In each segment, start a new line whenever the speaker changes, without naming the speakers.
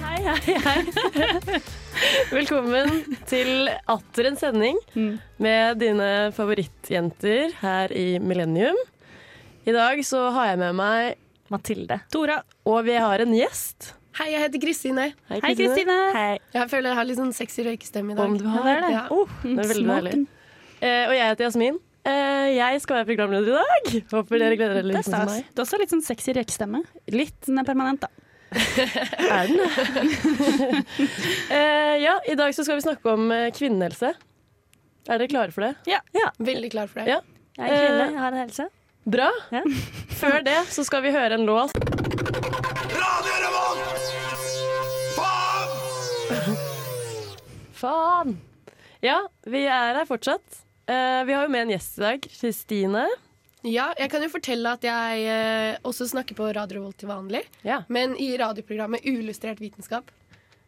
hei, hei. Velkommen til atter en sending med dine favorittjenter her i Millennium. I dag så har jeg med meg Mathilde.
Tora.
Og vi har en gjest.
Hei, jeg heter Kristine.
Hei, Kristine.
Hei.
Jeg føler jeg har litt sånn sexy røykestemme i dag.
Om du har det.
Ja.
Oh, det er veldig deilig.
Smaken.
Eh, og jeg heter Jasmin. Eh, jeg skal være programleder i dag. Håper dere gleder dere
Det er
litt til
stas.
meg.
Du har også litt sånn sexy rekestemme.
Litt
Sånn er permanent, da.
er den. eh, ja, i dag så skal vi snakke om eh, kvinnehelse. Er dere klare for det?
Veldig klar for det.
Ja.
Jeg er kvinne,
Eh,
jeg har en helse.
Bra.
Ja.
Før det så skal vi høre en låt.
Radio Revolt! Faen!
Faen! Ja, vi er her fortsatt. Eh, vi har jo med en gjest i dag. Kristine.
Ja, jeg kan jo fortelle at jeg eh, også snakker på Radio Revolt til vanlig,
Ja.
men i radioprogrammet Uillustrert vitenskap.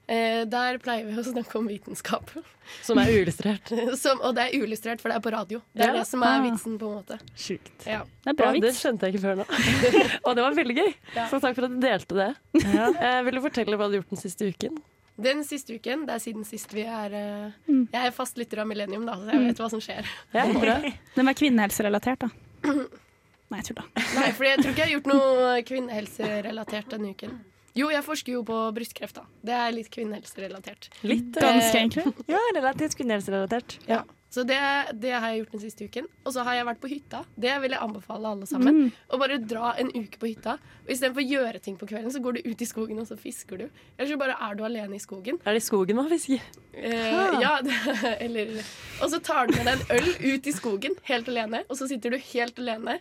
Eh, der pleier vi å snakke om vitenskap.
Som er uillustrert.
Som, og det er uillustrert, for det er på radio. Det
Ja.
er det som er
Ah.
vitsen, på en måte.
Sjukt.
Ja.
Det er bra
det
vits.
skjønte jeg ikke før nå. og det var veldig gøy.
Ja.
Så takk for at du delte det. Eh, vil du fortelle hva du har gjort den siste uken?
Den siste uken, det er siden sist vi er eh,
Mm.
Jeg er fast lytter av Millennium, da, så jeg
Mm.
vet hva som skjer.
Ja, bra.
Den var kvinnehelserelatert, da. Nei, jeg tulla.
Nei, for jeg tror ikke jeg har gjort noe kvinnehelserelatert denne uken. Jo, jeg forsker jo på brystkreft, da. Det er litt kvinnehelserelatert.
Litt. eh,
Ganske, egentlig.
Ja, relativt kvinnehelserelatert.
Ja. Så det, det har jeg gjort den siste uken. Og så har jeg vært på hytta. Det vil jeg anbefale alle sammen. Å bare dra en uke på hytta. Og istedenfor å gjøre ting på kvelden, så går du ut i skogen og så fisker du. Eller så bare er du alene i skogen.
Er det i skogen man fisker?
Eh, ja, det- eller Og så tar du med deg en øl ut i skogen helt alene, og så sitter du helt alene.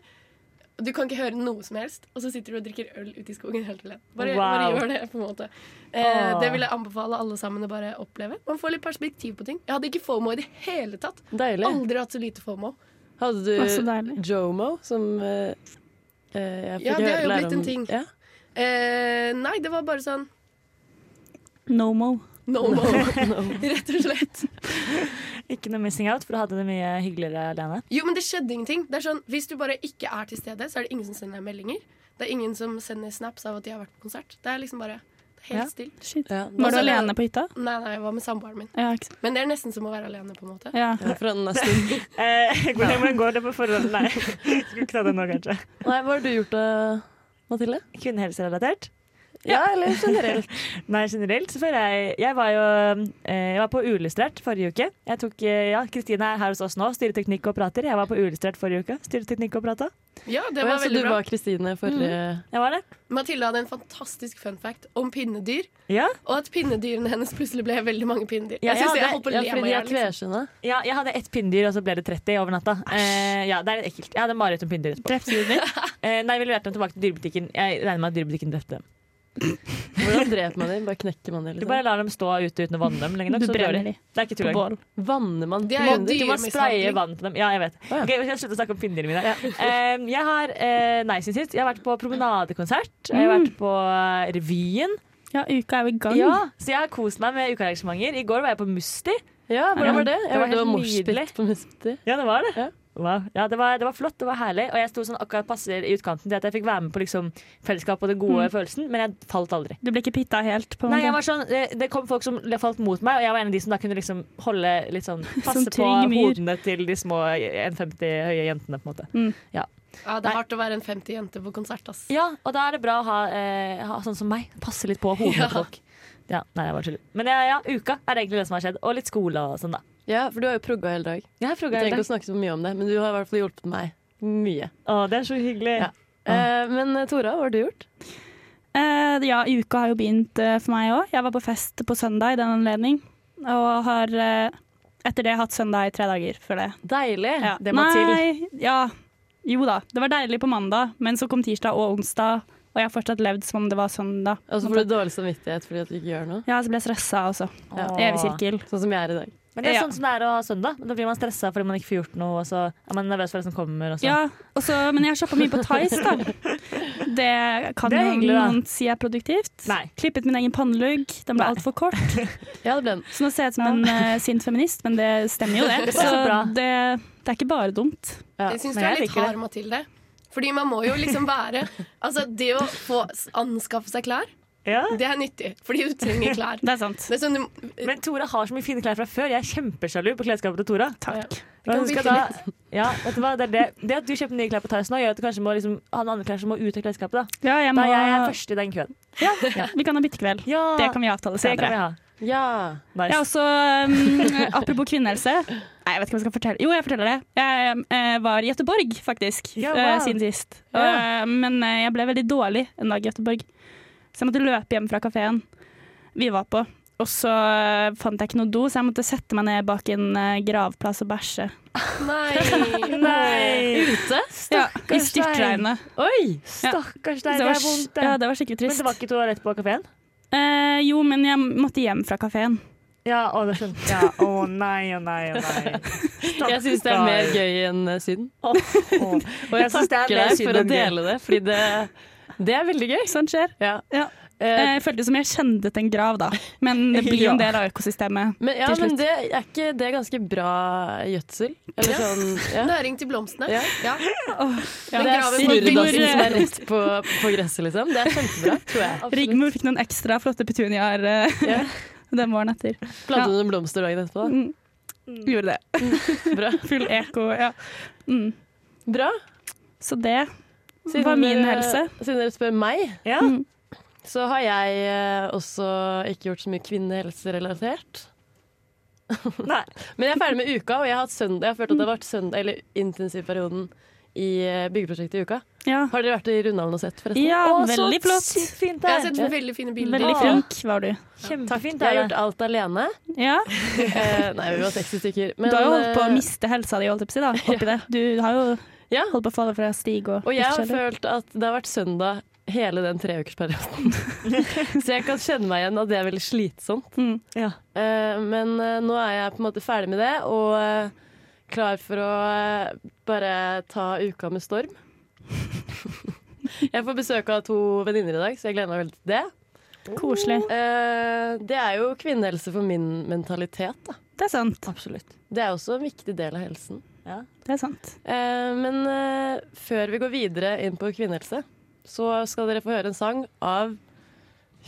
Du kan ikke høre noe som helst, og så sitter du og drikker øl ute i skogen helt alene. Bare, bare
Wow.
gjør det, på en måte. Eh,
Åh.
det vil jeg anbefale alle sammen å bare oppleve. Man får litt perspektiv på ting. Jeg hadde ikke FOMO i det hele tatt.
Deilig.
Aldri hatt så lite FOMO.
Hadde
Å, så
du
deilig.
Jomo, som eh, eh, jeg fikk
Ja, det har
høre-
jo
lære
blitt en
om-
ting.
Ja.
Eh, nei, det var bare sånn
No-mo.
no mo, rett og slett.
Ikke noe missing out, for du hadde det mye hyggeligere alene.
Jo, men det skjedde ingenting. Det er sånn, Hvis du bare ikke er til stede, så er det ingen som sender deg meldinger. Det er ingen som sender snaps av at de har vært på konsert. Det er liksom bare det er helt
Ja.
stille.
Shit.
Ja,
Altså,
Nå-
Var du alene på hytta?
Nei, nei, jeg var med samboeren min.
Ja, ikke sant.
Men det er nesten som å være alene, på en måte.
Ja.
ja, for en stund.
Eh, hvordan hvordan går det på forholdet? Nei, skulle ikke ta det nå, kanskje.
Nei, hva har du gjort da, Mathilde?
Kvinnehelserelatert?
Ja, eller generelt.
Nei, generelt så føler jeg Jeg var jo eh, jeg var på Uillustrert forrige uke. Jeg tok, eh, ja, Kristine er her hos oss nå, styrer teknikk og prater. Jeg var på Uillustrert forrige uke, styrer teknikk og prata.
Ja, det
Det
var
så
veldig
du
bra.
var Mm. Kristine eh, forrige
Jeg var det.
Mathilde hadde en fantastisk fun fact om pinnedyr,
Ja,
og at pinnedyrene hennes plutselig ble veldig mange pinnedyr.
Ja,
Jeg syns
ja,
jeg
det-
holdt på å
Ja,
le
fordi
meg i
de er
hjel. liksom.
tverskjønna.
ja, jeg hadde ett pinndyr, og så ble det 30 over natta. Eh, ja, Det er litt ekkelt. Jeg hadde mareritt om pinndyr etterpå.
Drepte du den?
Eh, nei, vi leverte dem tilbake til dyrebutikken. Jeg regner med at dyrebutikken drepte dem.
Hvordan dreper man dem? Bare knekker man dem?
Du
Liksom.
bare lar dem stå ute uten å vanne dem lenge nok.
Du
så dør
brenner de
Det er ikke tull.
på
engang.
bål.
Vanner man
Det er jo
pinner?
dyr-
Du må spraye
Dyremishandling.
vann til dem. Ja, jeg vet.
ja.
Ok, Vi skal slutte å snakke om pinnene mine. Eh, jeg har eh, nei, siden sist. Jeg har vært på promenadekonsert. Jeg har vært på eh, revyen.
Ja, uka er jo i gang.
Ja, så jeg har kost meg med ukearrangementer. I går var jeg på Musti.
Ja, hvordan var det? Jeg
Det var
hørte det var
helt
moshpit
nydelig.
på Musti.
Ja, det var det.
Ja.
Wow. Ja, det, var, det var flott, det var herlig. Og jeg sto sånn akkurat passer i utkanten til at jeg fikk være med på liksom, fellesskapet og den gode følelsen, men jeg falt aldri.
Du ble ikke pitta helt, på en
Nei, jeg
måte.
var sånn, det, det kom folk som falt mot meg, og jeg var en av de som da kunne liksom holde litt sånn Passe
Som
på
trygg myr.
hodene til de små 1,50 høye jentene, på en måte.
liksom. Ja, det er hardt å være en 50 jente på konsert, ass.
Ja, og da er det bra å ha, eh, ha sånn som meg. Passe litt på hodet
Ja.
til folk. Ja, nei, jeg bare tuller. Men ja, ja, uka er egentlig det som har skjedd. Og litt skole og sånn, da.
Ja, for du har jo progga hele dag.
Jeg har
Vi
frugga
trenger
i
ikke å
dag.
snakke så mye om det, men du har i hvert fall hjulpet meg mye.
Å, det er så hyggelig.
Ja. Eh, men eh, Tora, hva har du gjort?
Eh, ja, uka har jo begynt eh, for meg òg. Jeg var på fest på søndag i den anledning. Og har eh, etter det hatt søndag i tre dager før det.
Deilig.
Ja.
det må til.
Nei, ja. Jo da, det var deilig på mandag, men så kom tirsdag og onsdag, og jeg har fortsatt levd som om det var søndag.
Og så får du dårlig samvittighet fordi at du ikke gjør noe.
Ja, så ble jeg stressa også.
Ja.
Åh.
Evig sirkel.
Sånn som jeg er i dag.
Men det er
Ja.
sånn som det er å ha søndag. Da blir man stressa fordi man ikke får gjort noe, og så er man nervøs for det som kommer. Og så.
Ja, og så, men jeg har shoppa mye på Tice, da. Det kan
Det er
jo
hyggelig, da.
noen si er produktivt.
Nei.
Klippet min egen pannelugg. Den ble
Nei.
altfor kort.
Ja, det ble den.
Så nå ser jeg ut som en eh, sint feminist, men det stemmer jo det.
Det
Så
passer bra.
det, det er ikke bare dumt.
Ja.
Jeg syns du
men
er
jeg
litt
liker det.
hard, Mathilde. Fordi man må jo liksom være Altså, det å få s- anskaffe seg klær
Ja.
Det er nyttig, fordi du trenger klær.
Det er sant.
Det er sånn, du,
Men Tora har så mye fine klær fra før. Jeg er kjempesjalu på klesskapet til Tora.
Takk.
Og hun
Det
skal
kan
da- ja, vet du hva? Det, er det. det at du kjøper nye klær på Theis nå, gjør at du kanskje må liksom, ha noen andre klær som må ut av klesskapet. Da.
Ja, jeg
da
må,
er jeg er først i den køen.
vi kan ha byttekveld.
Ja,
Det kan vi avtale
det kan vi
senere.
ha.
Ja.
Nice.
Ja, også, um, apropos kvinnehelse. Nei, jeg vet ikke om jeg skal fortelle Jo, jeg forteller det. Jeg eh, var i Gøteborg, faktisk,
Ja, wow.
eh, siden sist. Og,
Ja.
eh, men eh, jeg ble veldig dårlig en dag i Gøteborg, så jeg måtte løpe hjem fra kafeen vi var på. Og så eh, fant jeg ikke noe do, så jeg måtte sette meg ned bak en eh, gravplass og bæsje.
nei.
Nei!
Ute?
Ja, I
Stein.
styrtregnet.
Oi!
Stakkars
Så det
deg, det
var
er
s-
vondt.
Ja,
Det.
det var skikkelig
Men
trist.
det var ikke toalett på kafeen?
Eh, jo, men jeg måtte hjem fra kafeen.
Ja, å, det skjønte jeg. Å nei, å nei, å nei.
Jeg syns det er mer gøy enn eh, synd. Og jeg
Jeg synes det er
takker
mer
deg
synd
for å
enn gøy.
dele det, fordi det, det er veldig gøy.
Sånt skjer.
Ja.
Ja.
Eh,
Eh, Jeg følte som jeg kjendet en grav, da. Men det blir jo en del av økosystemet.
men, ja,
til
men
slutt.
det er ikke det er ganske bra gjødsel? Eller sånn ja.
Næring til blomstene.
Ja.
Ja.
Det er
hvor-
graver
snurredassen som er rett på, på gresset, liksom. Det er kjempebra, tror jeg.
Rigmor fikk noen ekstra flotte petuniaer eh,
Ja.
den våren etter.
Plante noen blomster dagen etterpå. da.
Mm. Gjorde det.
Bra.
Full eko, ja. Mm.
Bra.
Så det var min
dere-
helse.
Siden dere spør meg,
Ja.
Mm.
så har jeg eh, også ikke gjort så mye kvinnehelserelatert.
Nei.
Men jeg er ferdig med uka, og jeg har, hatt søndag, jeg har følt at det har vært søndag, eller intensivperioden i eh, byggeprosjektet i uka.
Ja,
Har dere vært i Rundhallen og sett, forresten?
ja
Å, så
veldig flott.
sykt fint
Jeg har
der.
sett veldig fine bilder.
Veldig
Å.
flink var du.
Kjempefint
Jeg har
der.
gjort alt alene.
Ja.
Eh, nei, vi var 60 stykker. Men,
du har jo holdt på å
eh,
miste helsa di, holdt jeg på å si. da, Oppi det. Du har jo
Ja.
holdt på å falle fra stig og
Og jeg har
forskjellig.
følt at det har vært søndag hele den treukersperioden. Så jeg kan kjenne meg igjen at det er veldig slitsomt.
Mm.
Ja.
Eh, men eh, nå er jeg på en måte ferdig med det, og eh, klar for å eh, bare ta uka med storm. jeg får besøk av to venninner i dag, så jeg gleder meg veldig til det.
Koselig.
Eh, det er jo kvinnehelse for min mentalitet, da.
Det er sant.
Absolutt.
Det er også en viktig del av helsen.
Det er sant.
Eh, men eh, før vi går videre inn på kvinnehelse, så skal dere få høre en sang av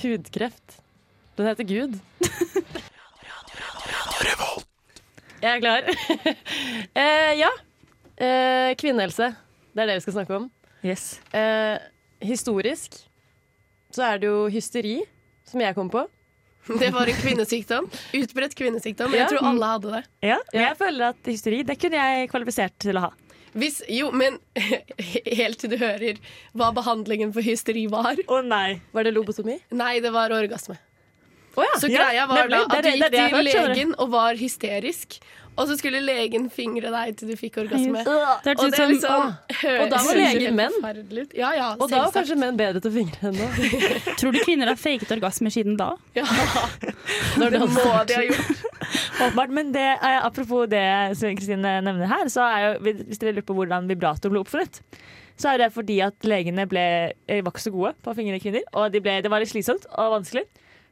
hudkreft. Den heter Gud. Jeg er klar. eh, ja. Eh, kvinnehelse. Det er det vi skal snakke om.
Yes.
Eh, historisk så er det jo hysteri, som jeg kom på.
Det var en kvinnesykdom. Utbredt kvinnesykdom. men
Ja.
Jeg tror alle hadde det.
Ja, men jeg føler at hysteri, det kunne jeg kvalifisert til å ha.
Hvis, jo, men helt til du hører hva behandlingen for hysteri var.
Å nei.
Var det lobotomi?
Nei, det var orgasme. Så
ja,
greia var da
nemlig.
at du
Det er det-
gikk
det er det jeg
til
har hørt, skjønner
legen og var hysterisk, og så skulle legen fingre deg til du fikk orgasme.
Det
Og
hørtes ut
det er
som
liksom
Og da var
høres
legen
helt
menn.
forferdelig ut. Ja, ja,
Og da var
selvsagt.
kanskje menn bedre til å fingre enn nå.
Tror du kvinner har faket orgasmer siden da?
Når
Det
de
må de ha gjort.
Åpenbart, men det, eh, apropos det som Kristine nevner her, så er jo, hvis dere lurer på hvordan vibrator ble oppfunnet, så er det fordi at legene ble, eh, var ikke så gode på å fingre kvinner, og de ble, det var litt slitsomt og vanskelig.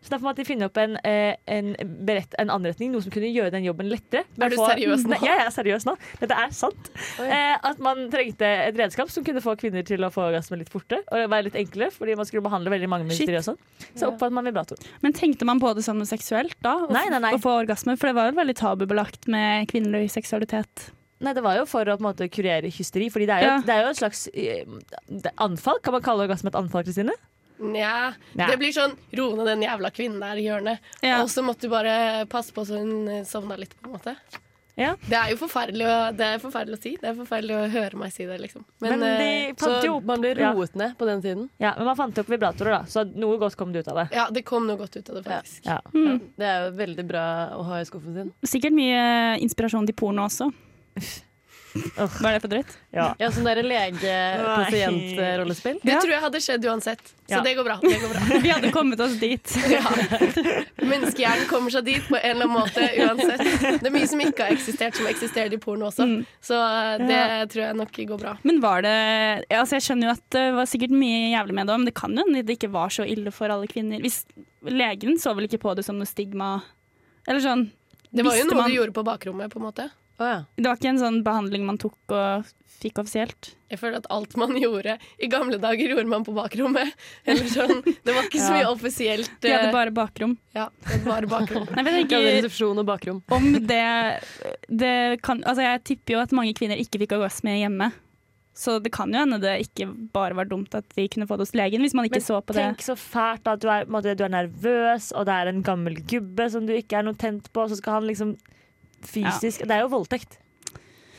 Så derfor måtte de finne opp en, eh, en, berett, en anretning, noe som kunne gjøre den jobben lettere.
Er du
Få-
seriøs nå?
Nei, Jeg er seriøs nå. Dette er sant. Eh, at man trengte et redskap som kunne få kvinner til å få orgasme litt fortere, og være litt enklere, fordi man skulle behandle veldig mange med
Shit.
hysteri og sånn. Så oppfant man vibrator.
Men tenkte man på det som seksuelt da? Å,
Nei, nei, nei.
å få orgasme? For det var jo veldig tabubelagt med kvinnelig seksualitet.
Nei, det var jo for å på en måte kurere hysteri. Fordi det er jo,
Ja.
det er jo et slags eh, det- anfall. Kan man kalle orgasme et anfall, Kristine?
Nja.
Nja.
Det blir sånn ro ned den jævla kvinnen der i hjørnet.
Ja.
Og så måtte du bare passe på så hun eh, sovna litt, på en måte.
Ja.
Det er jo forferdelig å, det er forferdelig å si. Det er forferdelig å høre meg si det, liksom. Men,
Men,
eh,
de fant jo
Så
opp
man ble
ja.
roet ned på den tiden.
ja, men man fant jo opp vibratorer, da. Så noe godt kom det ut av det.
ja, det kom noe godt ut av det, faktisk.
Ja.
Det er jo veldig bra å ha i skuffen sin.
Sikkert mye eh, inspirasjon til porno også. Hva er det for dritt?
Ja.
Ja, sånn derre lege-pasient-rollespill.
Det
Ja.
tror jeg hadde skjedd uansett, så
Ja.
det går bra. Det går bra.
Vi hadde kommet oss dit.
Menneskehjernen kommer seg dit på en eller annen måte uansett. Det er mye som ikke har eksistert, som eksisterer i porno også.
Mm.
Så eh, det tror jeg nok går bra.
Men var det ja, altså Jeg skjønner jo at det var sikkert mye jævlig med det, men det kan jo hende det ikke var så ille for alle kvinner. Hvis Legen så vel ikke på det som noe stigma? Eller sånn
Det var jo
visste
noe
man-
du gjorde på bakrommet, på en måte.
Å Å ja.
Det var ikke en sånn behandling man tok og fikk offisielt.
Jeg føler at alt man gjorde i gamle dager, gjorde man på bakrommet. Eller sånn. Det var ikke så mye offisielt.
De hadde
eh,
bare bakrom.
ja, det var bare bakrom.
Nei, men jeg
Ja, det er
tenker
resepsjon og bakrom.
om det, det kan, altså Jeg tipper jo at mange kvinner ikke fikk orgasme hjemme. Så det kan jo hende det ikke bare var dumt at de kunne få det hos legen, hvis man ikke
Men
så på det.
Tenk så fælt da, at du er, på en måte, du er nervøs, og det er en gammel gubbe som du ikke er noe tent på, og så skal han liksom fysisk Det er jo voldtekt.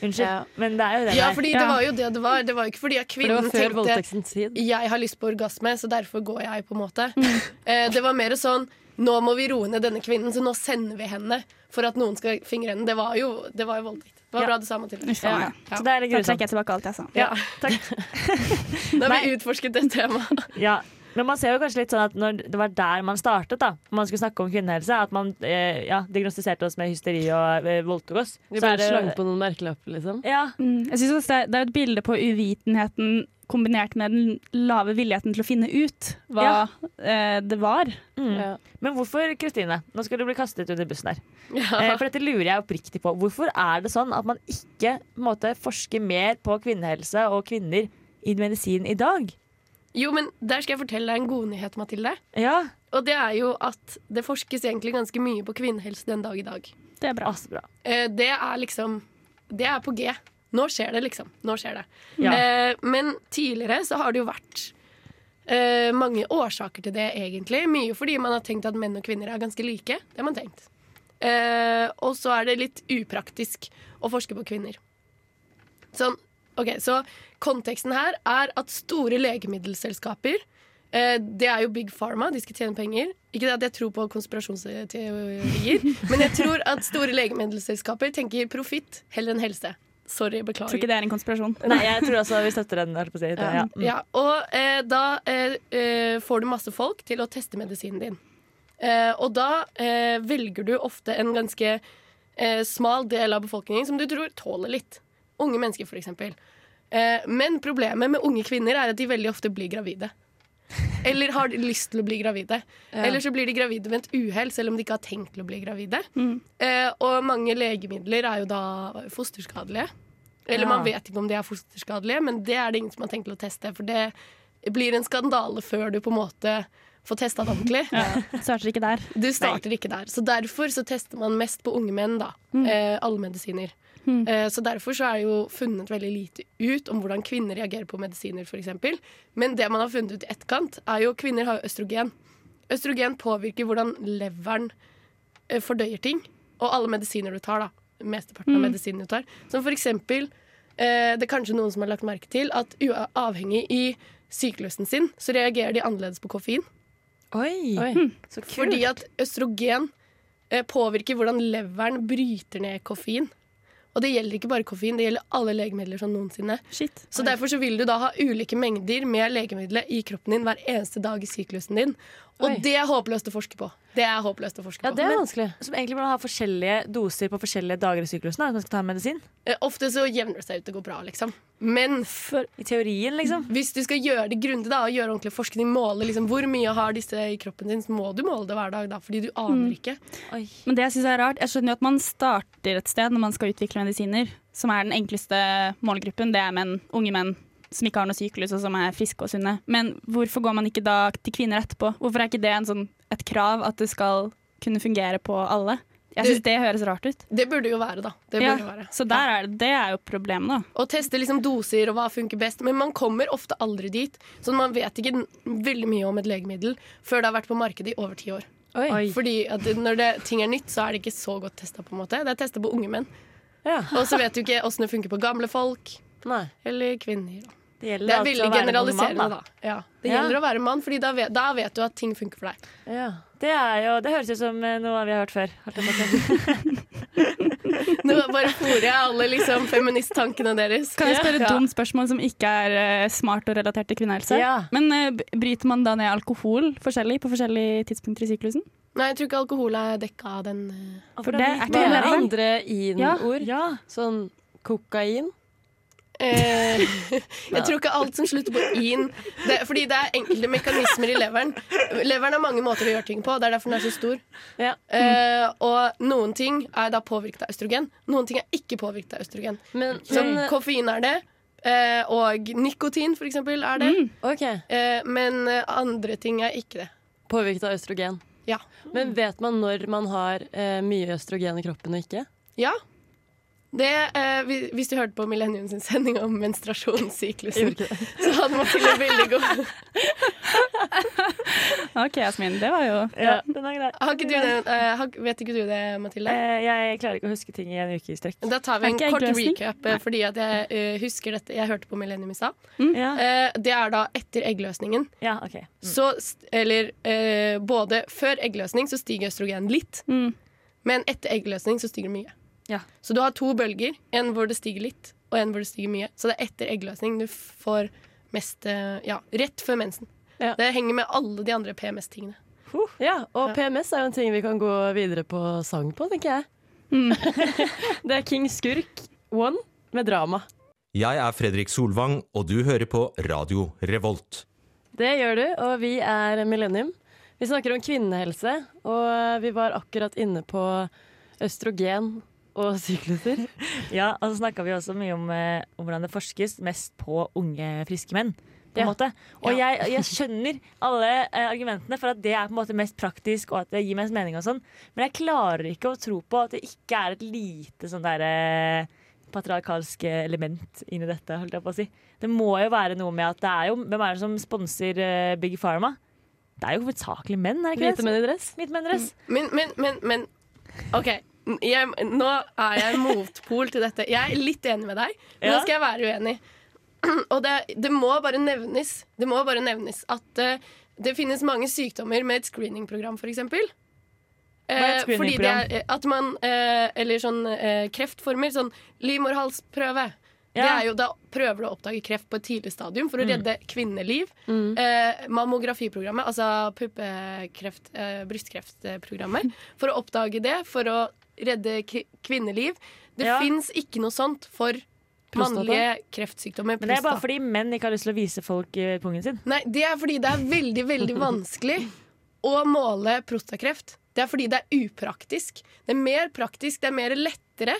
Unnskyld,
Ja.
men det er jo det.
Ja,
der.
fordi det
Ja.
var jo det det var. Det var jo ikke fordi at
For det
kvinnen
var før
tenkte
voldtektens tid.
jeg har lyst på orgasme, så derfor går jeg, på en måte. Eh, Det var mer sånn nå må vi roe ned denne kvinnen, så nå sender vi henne for at noen skal fingre henne. Det var jo, det var jo voldtekt. Det var
Ja.
bra du sa, Mathilde.
Uff, faen, ja.
Ja.
Så det er litt
Da trekker
grusomt.
jeg tilbake alt jeg sa.
Ja, takk.
Nå har vi utforsket det temaet.
Ja. Men man ser jo kanskje litt sånn at når det var der man startet, da, når man skulle snakke om kvinnehelse, at man eh, ja, diagnostiserte oss med hysteri og eh, voldtok oss.
Vi
Så
bare
er det-
slang på noen merkelapper, liksom.
Ja,
Mm. Jeg synes også det, er, det er et bilde på uvitenheten kombinert med den lave villigheten til å finne ut hva eh, det var.
mm.
Ja.
Men hvorfor, Kristine? Nå skal du bli kastet under bussen her. Eh,
Ja.
for dette lurer jeg oppriktig på. Hvorfor er det sånn at man ikke på en måte, forsker mer på kvinnehelse og kvinner i medisin i dag?
Jo, men der skal jeg fortelle deg en god nyhet, Mathilde.
Ja,
Og det er jo at det forskes egentlig ganske mye på kvinnehelse den dag i dag.
Det er bra.
altså bra.
Eh, Det er liksom Det er på G. Nå skjer det, liksom. Nå skjer det.
Ja.
Eh, Men tidligere så har det jo vært eh, mange årsaker til det, egentlig. Mye fordi man har tenkt at menn og kvinner er ganske like. Det har man tenkt. Eh, Og så er det litt upraktisk å forske på kvinner. Sånn, ok, Så konteksten her er at store legemiddelselskaper eh, Det er jo Big Pharma, de skal tjene penger. Ikke det at jeg tror på konspirasjonsteorier, men jeg tror at store legemiddelselskaper tenker profitt heller enn helse. Sorry,
Jeg tror
beklager.
ikke det er en konspirasjon.
Nei, jeg tror også vi støtter den. holdt på å si. Ja. Mm.
Ja, og eh, da eh, eh, får du masse folk til å teste medisinen din. Eh, og da eh, velger du ofte en ganske eh, smal del av befolkningen som du tror tåler litt. Unge mennesker, for eksempel. Eh, men problemet med unge kvinner er at de veldig ofte blir gravide. Eller har de lyst til å bli gravide. Eller så blir de gravide ved et uhell, selv om de ikke har tenkt til å bli gravide. Eh, og mange legemidler er jo da fosterskadelige. Eller
Ja.
man vet ikke om de er fosterskadelige, men det er det ingen som har tenkt til å teste. For det blir en skandale før du på en måte får testa det ordentlig.
Starter ikke der.
Du starter ikke der. Så derfor så tester man mest på unge menn, da. Eh, alle medisiner. Eh, så derfor så er jo funnet veldig lite ut om hvordan kvinner reagerer på medisiner, f.eks. Men det man har funnet ut i etterkant, er jo at kvinner har jo østrogen. Østrogen påvirker hvordan leveren eh, fordøyer ting. Og alle medisiner du tar, da. Mesteparten av medisinene du tar. Som for eksempel eh, Det er kanskje noen som har lagt merke til at uavhengig i syklusen sin, så reagerer de annerledes på koffein.
Oi.
Oi.
så kult.
Fordi at østrogen eh, påvirker hvordan leveren bryter ned koffein. Og det gjelder ikke bare koffein, det gjelder alle legemidler sånn noensinne.
Shit.
Så derfor så vil du da ha ulike mengder med legemiddelet i kroppen din hver eneste dag i syklusen din. Og
Oi.
det er håpløst å forske på. Det er håpløst å forske
Ja,
på.
det er
Men-
vanskelig. Som egentlig burde ha forskjellige doser på forskjellige dager i syklusen. Da, hvis man skal ta medisin.
Eh, Ofte så jevner det seg ut, det går bra, liksom. Men
I teorien, liksom.
hvis du skal gjøre det grundig da, og gjøre ordentlig forskning, måle liksom, hvor mye har disse i kroppen din, så må du måle det hver dag, da, fordi du aner
Mm.
ikke.
Oi.
Men det jeg synes er rart, jeg skjønner jo at man starter et sted når man skal utvikle medisiner, som er den enkleste målgruppen. Det er menn, unge menn som ikke har noe syklus og som er friske og sunne. Men hvorfor går man ikke da til kvinner etterpå? Hvorfor er ikke det en sånn, et krav at det skal kunne fungere på alle? Jeg synes det høres rart ut.
Det burde jo være, da. Det
Ja,
burde jo være.
så der er det, det er jo problemet, da.
og teste liksom doser og hva funker best. Men man kommer ofte aldri dit, så man vet ikke n- veldig mye om et legemiddel før det har vært på markedet i over ti år.
Oi.
Fordi at når det, ting er nytt, så er det ikke så godt testa. på en måte. Det er testa på unge menn.
Ja.
Og så vet du ikke åssen det funker på gamle folk
Nei.
eller kvinner. da.
Det, gjelder
Det er
altså å
veldig
være en god mann,
generaliserende, da. Ja, det
Ja.
gjelder å være mann, Fordi da vet, da vet du at ting funker for deg.
Ja.
Det, er jo, det høres ut som eh, noe vi har hørt før. holdt jeg på å si.
Nå bare fôrer jeg alle liksom, feministtankene deres.
Kan jeg spørre et
Ja.
dumt spørsmål som ikke er eh, smart og relatert til kvinnehelse?
Ja.
Men eh, b- bryter man da ned alkohol forskjellig på forskjellige tidspunkter i syklusen?
Nei, jeg tror ikke alkohol er dekka av den eh,
For det er
Hva
ikke det
er
læreren?
andre in-ord?
Ja.
Sånn kokain?
Eh, jeg tror ikke alt som slutter på in det, Fordi det er enkelte mekanismer i leveren. Leveren har mange måter å gjøre ting på. Det er derfor den er så stor.
Ja.
Eh, og noen ting er da påvirket av østrogen. Noen ting er ikke påvirket av østrogen.
Men,
Så
men
koffein er det. eh, og nikotin, for eksempel, er det.
OK.
Eh, men eh, andre ting er ikke det.
Påvirket av østrogen.
Ja.
Men vet man når man har eh, mye østrogen i kroppen og ikke?
Ja. Det, eh, hvi- hvis du hørte på Millennium sin sending om menstruasjonssyklusen, så hadde Mathilde veldig god
OK, Jasmin. Det var jo
Ja, den er grei.
har ikke du den, eh, har, Vet ikke du det, Mathilde?
Eh, Jeg klarer ikke å huske ting i en uke i strekk.
Da tar vi
Er
en
ikke jeg
kort
eggløsning?
recap, eh, fordi at jeg eh, husker dette. Jeg hørte på Millennium i stad.
Mm,
Ah.
Ja,
Eh, det er da etter eggløsningen.
ja ok.
Så, st- eller eh, både før eggløsning så stiger østrogen litt,
Mm.
men etter eggløsning så stiger det mye.
Ja.
Så du har to bølger, en hvor det stiger litt, og en hvor det stiger mye. Så det er etter eggløsning du får mest eh, Ja, rett før mensen.
Ja.
Det henger med alle de andre PMS-tingene.
Ja, og
Ja.
PMS er jo en ting vi kan gå videre på sang på, tenker jeg. det er King Skurk One med drama.
Jeg er Fredrik Solvang, og du hører på Radio Revolt.
Det gjør du, og vi er Millennium. Vi snakker om kvinnehelse, og vi var akkurat inne på østrogen og sykluser.
Ja, og så snakka vi også mye om, eh, om hvordan det forskes mest på unge, friske menn. På en
Ja.
måte. Og jeg, jeg skjønner alle eh, argumentene for at det er på en måte mest praktisk og at det gir mest mening. og sånn Men jeg klarer ikke å tro på at det ikke er et lite sånn der, eh, patriarkalsk eh, element inni dette. holdt jeg på å si Det må jo være noe med at det er jo Hvem er det som sponser eh, Big Pharma? Det er jo hovedsakelig menn, er det
Hvite
ikke det?
menn i dress.
Hvite menn, dress.
Men, men, men, men OK. n- Jeg, nå er jeg motpol til dette. Jeg er litt enig med deg, men
Ja.
nå skal jeg være uenig. Og det, det må bare nevnes Det må bare nevnes at eh, det finnes mange sykdommer med et screeningprogram, f.eks.
er et
fordi det er eh, at man eh, Eller sånn eh, kreftformer. Sånn livmorhalsprøve. Det
Ja. Mm.
er jo, da prøver du å oppdage kreft på et tidlig stadium for å redde kvinneliv. Eh, mammografiprogrammet, altså puppekreft, eh, brystkreftprogrammet, for å oppdage det, for å redde k kvinneliv. Det
Ja.
finnes ikke noe sånt for
Prostata?
mannlige kreftsykdommer.
Men det er bare
prostata.
fordi menn ikke har lyst til å vise folk eh, pungen sin.
Nei, det er fordi det er veldig, veldig vanskelig å måle prostakreft. Det er fordi det er upraktisk. Det er mer praktisk, det er mer lettere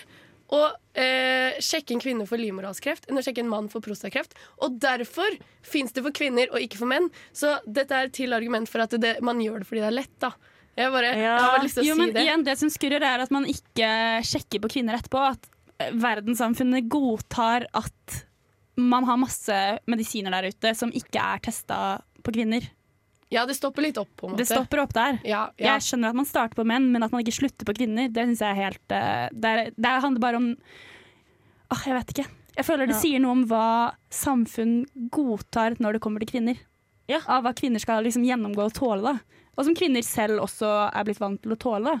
å eh, sjekke en kvinne for livmorhalskreft enn å sjekke en mann for prostakreft. Og derfor fins det for kvinner og ikke for menn. Så dette er til argument for at det, man gjør det fordi det er lett, da. Jeg, bare, jeg har
Ja.
bare lyst til å
jo,
si
men
det.
igjen, det som skurrer, er at man ikke sjekker på kvinner etterpå. At eh, verdenssamfunnet godtar at man har masse medisiner der ute som ikke er testa på kvinner.
Ja, det stopper litt opp, på en måte.
Det stopper opp der.
Ja, ja.
Jeg skjønner at man starter på menn, men at man ikke slutter på kvinner, det synes jeg er helt eh, Det, er, det handler bare om Åh, jeg vet ikke. Jeg føler det
Ja.
sier noe om hva samfunn godtar når det kommer til kvinner.
Ja.
Av hva kvinner skal liksom gjennomgå og tåle, da. Og som kvinner selv også er blitt vant til å tåle. da.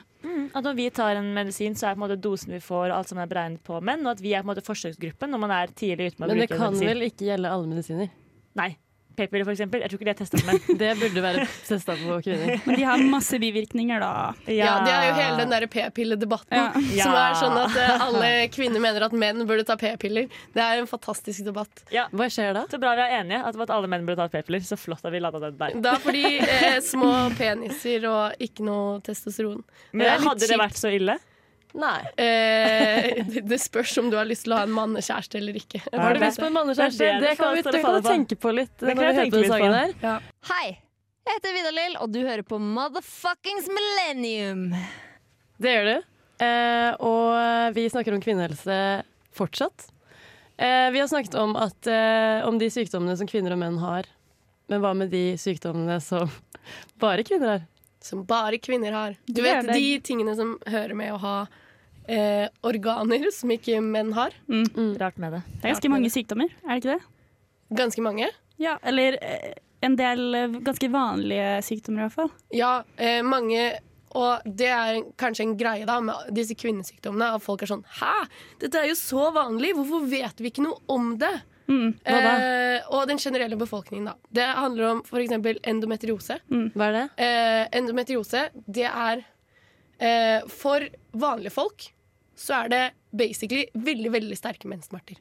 At når vi tar en medisin, så er på en måte dosen vi får, alt som er beregnet på menn, og at vi er på en måte forsøksgruppen når man er tidlig ute med å
Men det
bruke
kan
medisin.
vel ikke gjelde alle medisiner?
Nei. P-piller, for eksempel. Jeg tror ikke det er testa på menn.
Det burde være testa på kvinner.
Men de har masse bivirkninger, da.
Ja, det er jo hele den der p-pilledebatten
Ja.
som
Ja.
er sånn at eh, alle kvinner mener at menn burde ta p-piller. Det er en fantastisk debatt.
Hva skjer da?
Så bra vi er enige at, om at alle menn burde tatt p-piller. Så flott at vi landa den der.
Da fordi eh, små peniser og ikke noe testosteron.
Men
det er litt
hadde det
kjipt.
vært så ille?
Nei.
Eh, det, det spørs om du har lyst til å ha en mannekjæreste eller ikke.
Har
Har du lyst på en mannekjæreste?
Det er det
Det
det
kan vi
skal
det kan
falle
du
på.
tenke på litt
kan
når vi
jeg
hører
tenke
på den
litt
sangen
på.
her.
Hei, jeg heter Vidar Lill, og du hører på Motherfuckings Millennium.
Det gjør du. Eh, og vi snakker om kvinnehelse fortsatt. Eh, vi har snakket om, at, eh, om de sykdommene som kvinner og menn har. Men hva med de sykdommene som bare kvinner har?
Som bare kvinner har. Du
Det er
vet
det.
de tingene som hører med å ha eh, organer som ikke menn har.
Mm. Rart med det.
Det er ganske mange sykdommer, er det ikke det?
Ganske mange.
Ja, Eller eh, en del eh, ganske vanlige sykdommer, i hvert fall.
Ja, eh, mange Og det er kanskje en greie da med disse kvinnesykdommene. At folk er sånn Hæ? Dette er jo så vanlig! Hvorfor vet vi ikke noe om det?
Mm, Hva da?
Eh, og den generelle befolkningen, da. Det handler om f.eks. endometriose.
Hva er det?
Eh, endometriose, det er eh, For vanlige folk så er det basically veldig, veldig sterke menssmerter.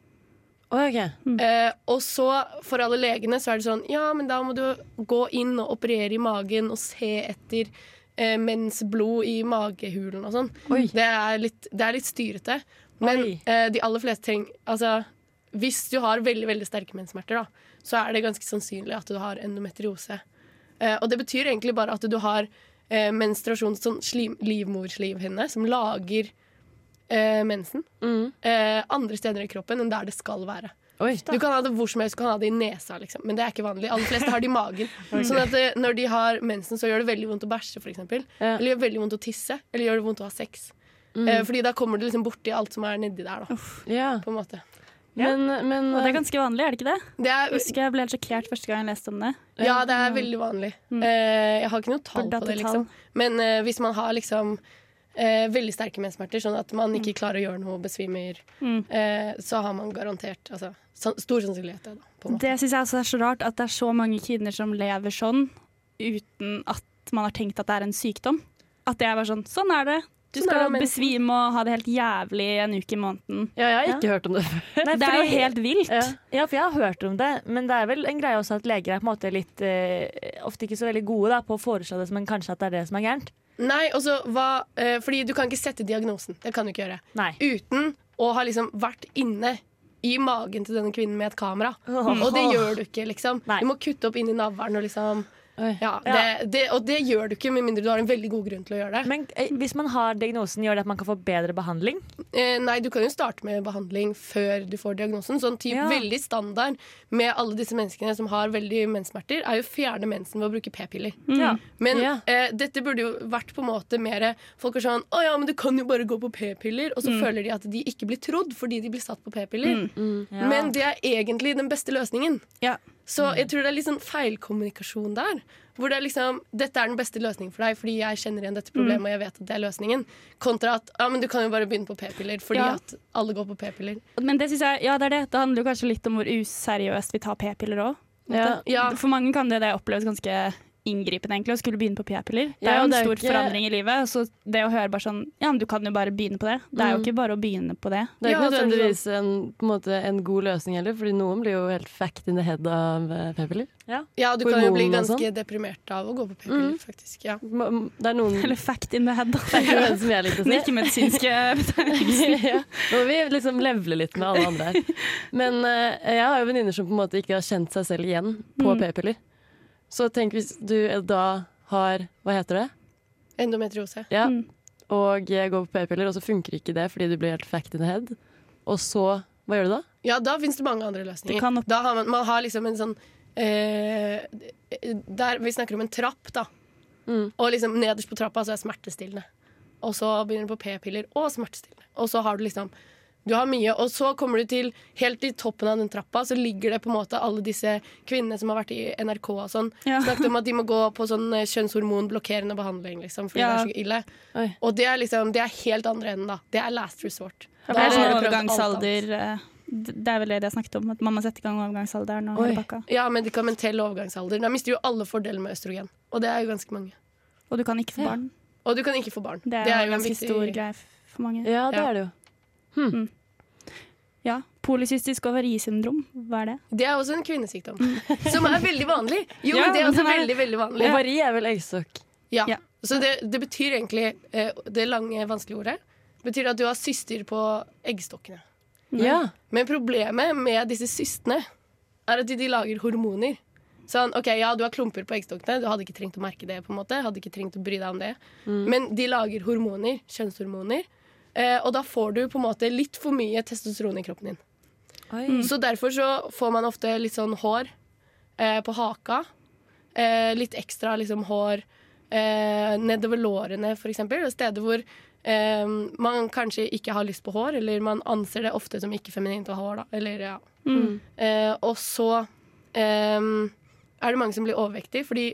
Å, ok. Mm.
Eh, og så, for alle legene, så er det sånn Ja, men da må du gå inn og operere i magen og se etter eh, mensblod i magehulen og sånn.
Oi.
Det, er litt- det er litt styrete. Men
Oi.
eh, de aller fleste trenger Altså, hvis du har veldig, veldig sterke menssmerter, da, så er det ganske sannsynlig at du har endometriose. Eh, og det betyr egentlig bare at du har eh, menstruasjons sånn slim, livmorslimhinne som lager eh, mensen
Mm.
eh, andre steder i kroppen enn der det skal være.
Oi.
Du kan ha det hvor som helst, du kan ha det i nesa, liksom. men det er ikke vanlig. Aller fleste har det i magen. Sånn at eh, når de har mensen, så gjør det veldig vondt å bæsje, f.eks. eksempel
Ja.
Eller gjør veldig vondt å tisse. Eller gjør det vondt å ha sex. Eh, fordi da kommer du liksom borti alt som er nedi der, da.
Ja.
På en måte.
Men, men
Og det er ganske vanlig, er det ikke det?
Det er,
Jeg husker jeg ble helt sjokkert første gang jeg leste om det.
ja, det er veldig vanlig. Eh, jeg har ikke noe tall
Burde hatt
på det,
et
liksom. Men eh, hvis man har liksom eh, veldig sterke menssmerter, sånn at man ikke klarer å gjøre noe, besvimer,
Mm.
eh, så har man garantert altså, san- stor sannsynlighet til det, da. På en måte.
Det syns jeg også er så rart, at det er så mange kvinner som lever sånn uten at man har tenkt at det er en sykdom. At det er bare sånn Sånn er det. Du
Sånn er
skal
det, men-
besvime og ha det helt jævlig en uke i måneden.
ja, jeg har ikke hørt om det før.
Nei,
Det er jo
fordi-
helt vilt.
Ja.
Ja, for jeg har hørt om det, men det er vel en greie også at leger er på en måte litt eh, ofte ikke så veldig gode da, på å foreslå det, men kanskje at det er det som er gærent.
Nei, også hva eh, Fordi du kan ikke sette diagnosen. Det kan du ikke gjøre.
Nei.
Uten å ha liksom vært inne i magen til denne kvinnen med et kamera.
Åh.
Og det gjør du ikke, liksom.
Nei.
Du må kutte opp inn i navlen og liksom
Oi.
ja, det, det, Og det gjør du ikke med mindre du har en veldig god grunn til å gjøre det.
Men eh, hvis man har diagnosen, gjør det at man kan få bedre behandling?
Eh, nei, du kan jo starte med behandling før du får diagnosen. Sånn typ
Ja.
Veldig standard med alle disse menneskene som har veldig menssmerter, er jo å fjerne mensen ved å bruke p-piller.
Mm. Ja.
Men
Ja.
eh, dette burde jo vært på en måte mer Folk er sånn 'Å ja, men du kan jo bare gå på p-piller', og så
Mm.
føler de at de ikke blir trodd fordi de blir satt på p-piller.
Ja.
Men det er egentlig den beste løsningen.
Ja.
Så jeg tror det er litt sånn feilkommunikasjon der. Hvor det er liksom 'Dette er den beste løsningen for deg, fordi jeg kjenner igjen dette problemet', og jeg vet at det er løsningen. Kontra at 'Ja, men du kan jo bare begynne på p-piller', fordi
Ja.
at alle går på p-piller.
Men det synes jeg, ja, det er det. Det handler jo kanskje litt om hvor useriøst vi tar p-piller òg.
Ja.
Ja.
For mange kan det, det oppleves ganske inngripende egentlig, å skulle begynne på p-piller. Det
Ja,
er jo en
det er
stor
ikke-
forandring i livet. Så det å høre bare sånn Ja, men du kan jo bare begynne på det. Det er jo
Mm.
ikke bare å begynne på det.
Det er ikke
Ja, så er det
nødvendigvis en, på en, måte, en god løsning heller, fordi noen blir jo helt fact in the head av eh, p-piller.
Ja, du kan jo bli
Hormonene og
ganske deprimert av å gå på p-piller, faktisk. Ja.
M- m- Det er noen
Eller fact in the head, da.
menn som jeg likte å
Den
si.
ikke-medisinske Altså, betegnelsen.
ja. Nå må vi liksom levele litt med alle andre her. Men eh, jeg har jo venninner som på en måte ikke har kjent seg selv igjen på p-piller. Så tenk hvis du eh, da har Hva heter det?
Endometriose.
Ja. Og eh, går på p-piller, og så funker ikke det fordi du blir helt fact in the head. Og så Hva gjør du da?
Ja, da finnes det mange andre
Det
løsninger.
kan opp-
Da har man, man har liksom en sånn eh, der Vi snakker om en trapp, da.
Mm.
Og liksom nederst på trappa så er smertestillende. Og så begynner du på p-piller og smertestillende. Og så har du liksom Du har mye. Og så kommer du til helt i toppen av den trappa, så ligger det på en måte alle disse kvinnene som har vært i NRK og sånn.
Ja.
Snakket om at de må gå på sånn eh, kjønnshormonblokkerende behandling, liksom, fordi
Ja.
det er så ille.
Oi.
Og det er liksom Det er helt andre enden, da. Det er last resort.
Det
Da
er sånn
har du prøvd alt annet.
overgangsalder eh, Det er vel det jeg snakket om, at man må sette i gang overgangsalderen og
Oi.
hele pakka.
Ja, medikamentell overgangsalder. Da mister jo alle fordeler med østrogen. Og det er jo ganske mange.
Og du kan ikke få
Ja.
barn.
Og du kan ikke få barn.
Det er, jo en ganske stor greie for mange.
Ja, det
Ja.
er det jo.
Ja. Polycystisk ovarisyndrom, hva er det?
Det er også en kvinnesykdom. Som er veldig vanlig. Jo,
Mm. Ja,
men det er
men
også
den er-
veldig, veldig vanlig.
Ovari er vel eggstokk.
Ja.
Ja.
Så det, det betyr egentlig eh, det lange, vanskelige ordet betyr at du har syster på eggstokkene.
Ja.
Men problemet med disse systene er at de, de lager hormoner. Sånn, ok, ja, Du har klumper på eggstokkene, du hadde ikke trengt å merke det. på en måte Hadde ikke trengt å bry deg om det Men de lager hormoner, kjønnshormoner. Eh, og da får du på en måte litt for mye testosteron i kroppen din. Mm. Så derfor så får man ofte litt sånn hår eh, på haka. Eh, litt ekstra liksom hår eh, nedover lårene, for eksempel. Steder hvor eh, man kanskje ikke har lyst på hår, eller man anser det ofte som ikke feminint å ha hår. Da. Eller, ja. eh, og så eh, er det mange som blir overvektige, fordi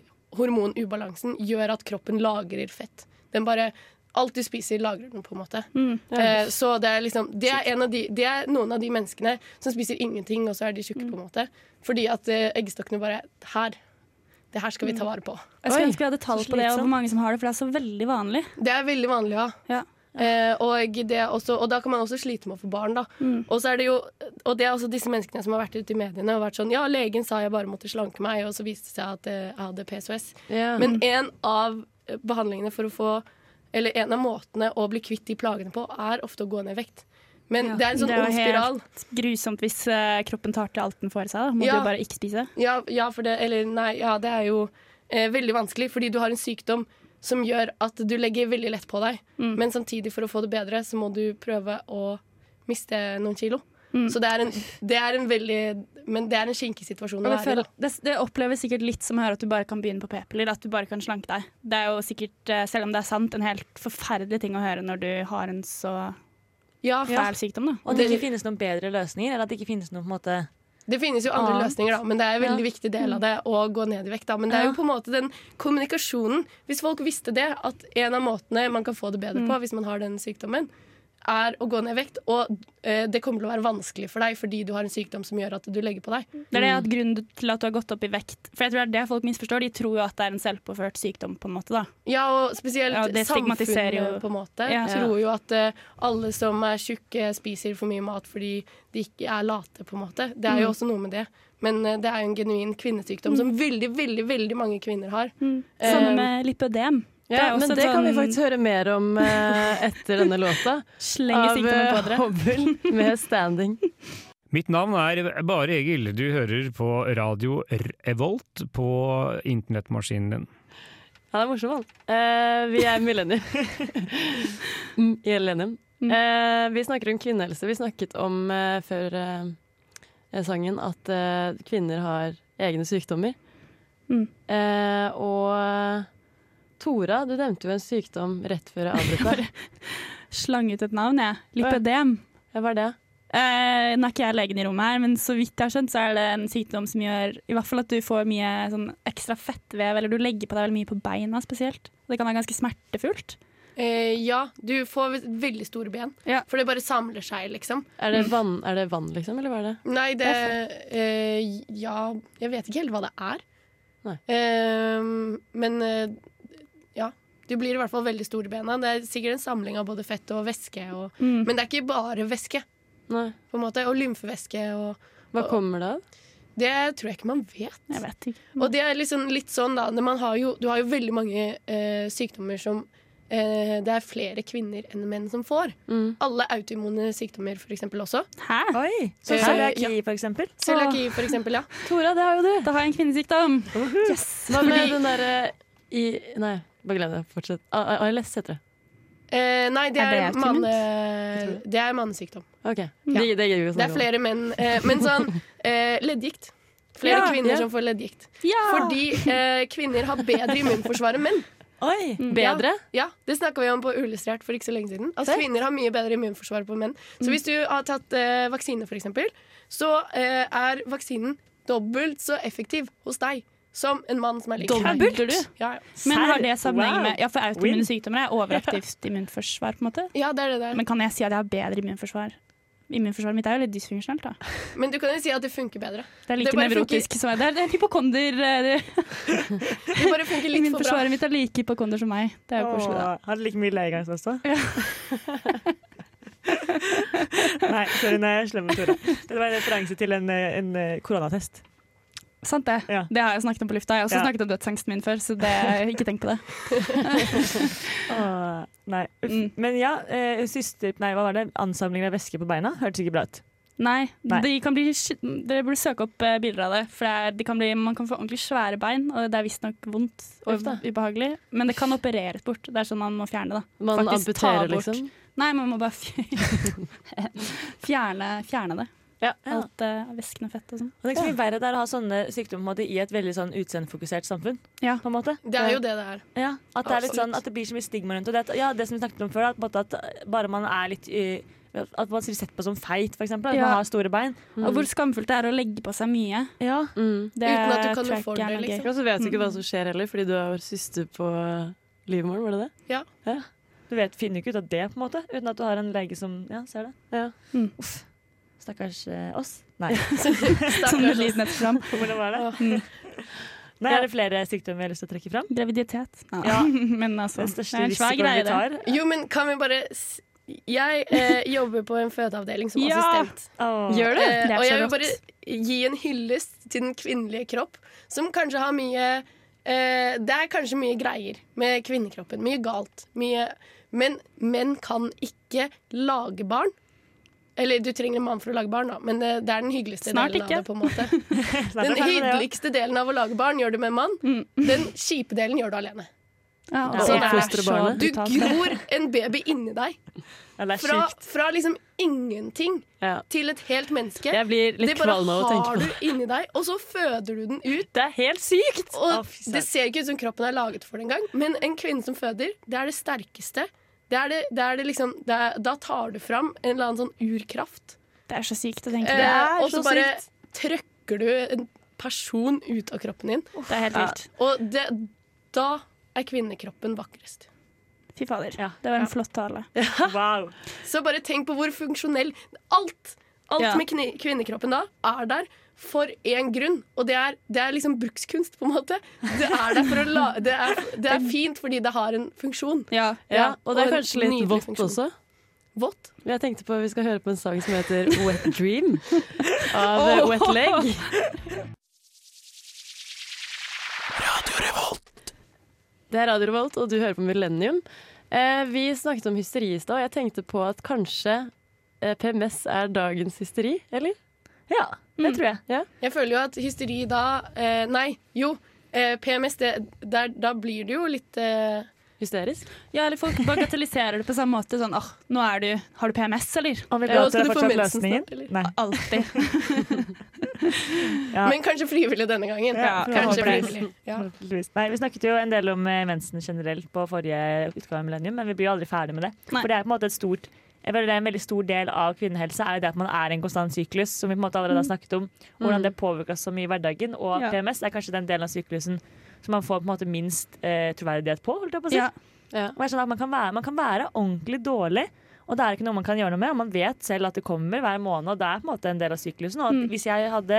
hormonubalansen gjør at kroppen lagrer fett. Den bare Alt du spiser, lagrer den, på en måte. Eh, så det er liksom det er, en av de, det er noen av de menneskene som spiser ingenting, og så er de tjukke, på en måte. Fordi at eh, eggstokkene bare Her. Det her skal vi ta vare på.
Jeg skulle
Oi,
ønske vi hadde tall
så
på det, og
slitsomt.
hvor mange som har det, for det er så veldig vanlig.
Det er veldig vanlig å ha.
Ja.
Eh, og, det er også, og da kan man også slite med å få barn, da.
Mm.
Og, så er det jo, og det er også disse menneskene som har vært ute i mediene og vært sånn Ja, legen sa jeg bare måtte slanke meg, og så viste det seg at eh, jeg hadde PCOS.
Ja.
Men en av eh, behandlingene for å få Eller en av måtene å bli kvitt de plagene på, er ofte å gå ned i vekt. Men
Ja,
det er en sånn
det er jo
ond
helt-
spiral.
Grusomt hvis eh, kroppen tar til alt den får i seg. Da. Må
Ja.
du bare ikke spise.
Ja, ja, for det Eller nei, ja, det er jo eh, veldig vanskelig, fordi du har en sykdom som gjør at du legger veldig lett på deg. Men samtidig, for å få det bedre, så må du prøve å miste noen kilo. Så det er, en, det er en veldig Men det er en kinkig situasjon å
Og jeg
være i.
føler,
da.
det, det oppleves sikkert litt som her at du bare kan begynne på p-piller. At du bare kan slanke deg. Det er jo sikkert, eh, selv om det er sant, en helt forferdelig ting å høre når du har en så
Ja,
fæl sykdom. Da.
Og det ikke finnes noen bedre løsninger? Eller at det ikke finnes noen på en måte
Det finnes jo andre
Annet.
løsninger, da, men det er en veldig
Ja.
viktig del av det
Mm.
å gå ned i vekt. Da. Men det er jo
Ja.
på en måte den kommunikasjonen. Hvis folk visste det, at en av måtene man kan få det bedre
Mm.
på hvis man har den sykdommen, er å gå ned i vekt, og eh, det kommer til å være vanskelig for deg fordi du har en sykdom som gjør at du legger på deg.
Det er det at grunnen til at du har gått opp i vekt For jeg tror det er det folk misforstår. De tror jo at det er en selvpåført sykdom, på en måte. da.
Ja, og spesielt
Ja, det stigmatiserer jo-
samfunnet, på en måte.
Ja.
Tror jo at eh, alle som er tjukke, spiser for mye mat fordi de ikke er late, på en måte. Det er
Mm.
jo også noe med det. Men eh, det er jo en genuin kvinnesykdom som veldig, veldig, veldig mange kvinner har.
Samme
Eh,
med lipødem.
ja, men det sånn- kan vi faktisk
høre.
høre mer om eh, etter denne låta.
Slenge
Av
sykdommen på
eh,
dere.
Hobble med standing.
Mitt navn er Bare Egil. Du hører på radio Revolt på internettmaskinen din.
Han er morsom, han. Eh, vi er millennium. Mm, I millennium. Eh, vi snakker om kvinnehelse. Vi snakket om eh, før eh, sangen at eh, kvinner har egne sykdommer.
Mm.
Eh, og eh, Tora, du nevnte jo en sykdom rett før jeg avbrøt deg.
Slang ut et navn, jeg. Lipødem.
Hva er det?
Eh, nå er ikke jeg legen i rommet her, men så vidt jeg har skjønt, så er det en sykdom som gjør i hvert fall at du får mye sånn, ekstra fettvev, eller du legger på deg veldig mye på beina spesielt. Det kan være ganske smertefullt.
Eh, ja, du får ve- veldig store ben.
Ja.
For det bare samler seg, liksom.
Er det vann, er det vann liksom, eller hva er det?
Nei, det eh, Ja, jeg vet ikke helt hva det er.
Nei.
Eh, men eh, ja. Du blir i hvert fall veldig store bena. Det er sikkert en samling av både fett og væske. Og, Men det er ikke bare væske,
Nei.
på en måte. Og lymfevæske og
Hva kommer det av?
Det tror jeg ikke man vet.
Jeg vet ikke.
Og det er liksom litt sånn da når man har jo, Du har jo veldig mange eh, sykdommer som eh, det er flere kvinner enn menn som får.
Mm.
Alle autoimmune sykdommer for eksempel også.
Hæ?
Oi! Som
Eh,
cøliaki,
ja.
for eksempel.
Cøliaki for eksempel, ja.
Tora, det har jo du!
Da har jeg en kvinnesykdom!
Uhuh.
Yes!
Hva med den derre i Nei, bare glem det. Fortsett. A- A- ALS heter det.
Eh, nei, det
Er
er,
det autoimmunt?
manne, det er mannesykdom.
OK. Det, det gir vi å
Det er
snakke om.
flere menn. Eh, men sånn eh, leddgikt. Flere
Ja,
kvinner
ja.
som får leddgikt.
Ja!
Fordi eh, kvinner har bedre immunforsvar enn menn.
Oi!
Bedre?
Ja, det snakka vi om på Uillustrert for ikke så lenge siden. At
Se. Mm.
kvinner har mye bedre immunforsvar på menn. Så hvis du har tatt eh, vaksine, for eksempel, så eh, er vaksinen dobbelt så effektiv hos deg som en mann som er lik.
Dobbelt? Kødder du?
Ja, ja.
Men har det sammenheng
Wow.
med Ja, for autoimmune
Win.
sykdommer er overaktivt immunforsvar, på en måte.
ja, det er det der.
Men kan jeg si at jeg har bedre immunforsvar? Immunforsvaret mitt er jo litt dysfunksjonelt, da.
Men du kan jo si at det funker bedre.
Det er
Det
like
bare
nevrotisk som meg. Det er- det er hypokonder. eh, det-
Det bare funker litt for bra.
Immunforsvaret mitt er like hypokonder som meg. Det er jo koselig, da.
Åh, Hadde like mye leiegangs også. Nei, sorry, nei, jeg er slem med Tore. Det var en referanse til en, eh, en eh, koronatest.
Sant det.
Ja.
Det har jeg snakket om på lufta. Jeg har også
Ja.
snakket om dødsangsten min før, så det, ikke tenk på det.
Åh, nei. Uff.
Mm.
Men ja, eh, syster, nei, hva var det? Ansamling av væske på beina hørtes ikke bra ut.
Nei,
Nei.
De kan bli, sk- dere burde søke opp eh, bilder av det. For det er, de kan bli, man kan få ordentlig svære bein, og det er visstnok vondt og
Uff da.
ubehagelig. Men det kan opereres bort. Det er sånn man må fjerne det.
Man
Faktisk ta
amputerer,
bort.
liksom?
Nei, man må bare fj- fjerne, fjerne det.
Ja.
Alt uh, væsken og fett og sånn.
Og det er ikke så mye verre det er å ha sånne sykdommer på en måte, i et veldig sånn utseendefokusert samfunn.
Ja.
På en måte.
Det er jo det det er.
Ja, at det, er litt
Absolutt.
sånn, at det blir så mye stigma rundt og det. At, ja, det som vi snakket om før, da, på en måte at bare man er litt eh, At man blir sett på som feit, for eksempel. At
Ja.
man har store bein.
Og hvor skamfullt det er å legge på seg mye.
Ja.
Mm.
Det
Uten at du kan
tror jeg
få
ikke er
det,
noe gøy.
liksom.
Og så vet du ikke hva som skjer heller, fordi du er vår søster på livmoren, var det det?
Du vet, finner jo ikke ut av det, på en måte, uten at du har en lege som ja, ser det.
Ja.
Mm.
Uff. Stakkars eh, oss. Nei,
Som et
Stakkars oss.
liten etterfram.
hvordan var det? Mm. Nei, er det flere sykdommer jeg har lyst til å trekke fram?
Graviditet. Nei,
Ja.
Men altså,
Den
det
største
er en svær
risikoen
greie,
vi
det.
tar.
Jo, men kan vi bare s- Jeg eh, jobber på en fødeavdeling som
Ja!
assistent.
Åh.
Gjør du?
Eh,
Det er
og
så
jeg vil
rått.
bare gi en hyllest til den kvinnelige kropp, som kanskje har mye eh, Det er kanskje mye greier med kvinnekroppen. Mye galt. Mye, men menn kan ikke lage barn. Eller du trenger en mann for å lage barn, da, men eh, det, det er den hyggeligste
Snart
delen
ikke.
av det. på en måte
Snart
Den
er vi ferdig med det, ja.
hyggeligste delen av å lage barn gjør du med en mann.
Mm.
Den kjipe delen gjør du alene.
Ja,
Ja,
også
og
er
fostre
så
barnet.
Du
brutalt.
gror en baby inni deg.
Ja, det er
Fra,
sjukt.
fra liksom ingenting
Ja.
til et helt menneske.
Jeg blir
Det
litt
bare
kvalm av å tenke
har
på det.
du inni deg, og så føder du den ut.
Det er helt sykt!
Å,
Og
fy søren.
det ser ikke ut som kroppen er laget for det engang, men en kvinne som føder, det er det sterkeste. Det er det, det er det liksom, det er, da tar du fram en eller annen sånn urkraft.
Det er så sykt å tenke på.
Eh, og så bare trøkker du en person ut av kroppen din.
Det er helt vilt.
Og det, da er kvinnekroppen vakrest.
Fy fader. Det var en flott tale.
Wow.
Så bare tenk på hvor funksjonell Alt, alt
Ja.
med kni- kvinnekroppen da er der for én grunn, og det er, det er liksom brukskunst, på en måte. Det er, der for å la, det, er, det er fint fordi det har en funksjon.
Ja.
Ja, og det
og
er
en
kanskje litt
nydelig
vått
funksjon.
også.
Vått.
Jeg tenkte på Vi skal høre på en sang som heter Wet Dream av eh, Wet Leg. Det er Radio Revolt, og du hører på Millennium. Eh, vi snakket om hysteri i stad, og jeg tenkte på at kanskje eh, PMS er dagens hysteri, eller?
Ja, det tror jeg.
Jeg føler jo at hysteri da eh, Nei, jo. Eh, PMS, det, der, da blir det jo litt eh,
Hysterisk.
ja, eller folk bagatelliserer det på samme måte. Sånn åh, nå er du Har du PMS, eller?
Om vi
Ja,
prater
skal
om
du få
fortsatt
mensen
løsningen?
snart, eller?
Nei.
Alltid.
Ja.
Men kanskje frivillig denne gangen.
Ja,
kanskje
forhåpentligvis.
frivillig. Ja.
Forhåpentligvis. Nei, vi snakket jo en del om eh, mensen generelt på forrige utgave av Millennium, men vi blir jo aldri ferdig med det.
Nei.
For det er på en måmåte et stort jeg føler det er En veldig stor del av kvinnehelse er jo det at man er i en konstant syklus. som vi på en måte allerede har snakket om, og Hvordan det påvirker oss så mye i hverdagen. Og
Mm. Ja.
PMS er kanskje den delen av syklusen som man får på en måte minst eh, troverdighet på. holdt jeg på å si.
Ja.
Og jeg skjønner at man kan, være, man kan være ordentlig dårlig, og det er ikke noe man kan gjøre noe med. Og man vet selv at det kommer hver måned, og det er på en måte en del av syklusen. Og at hvis jeg hadde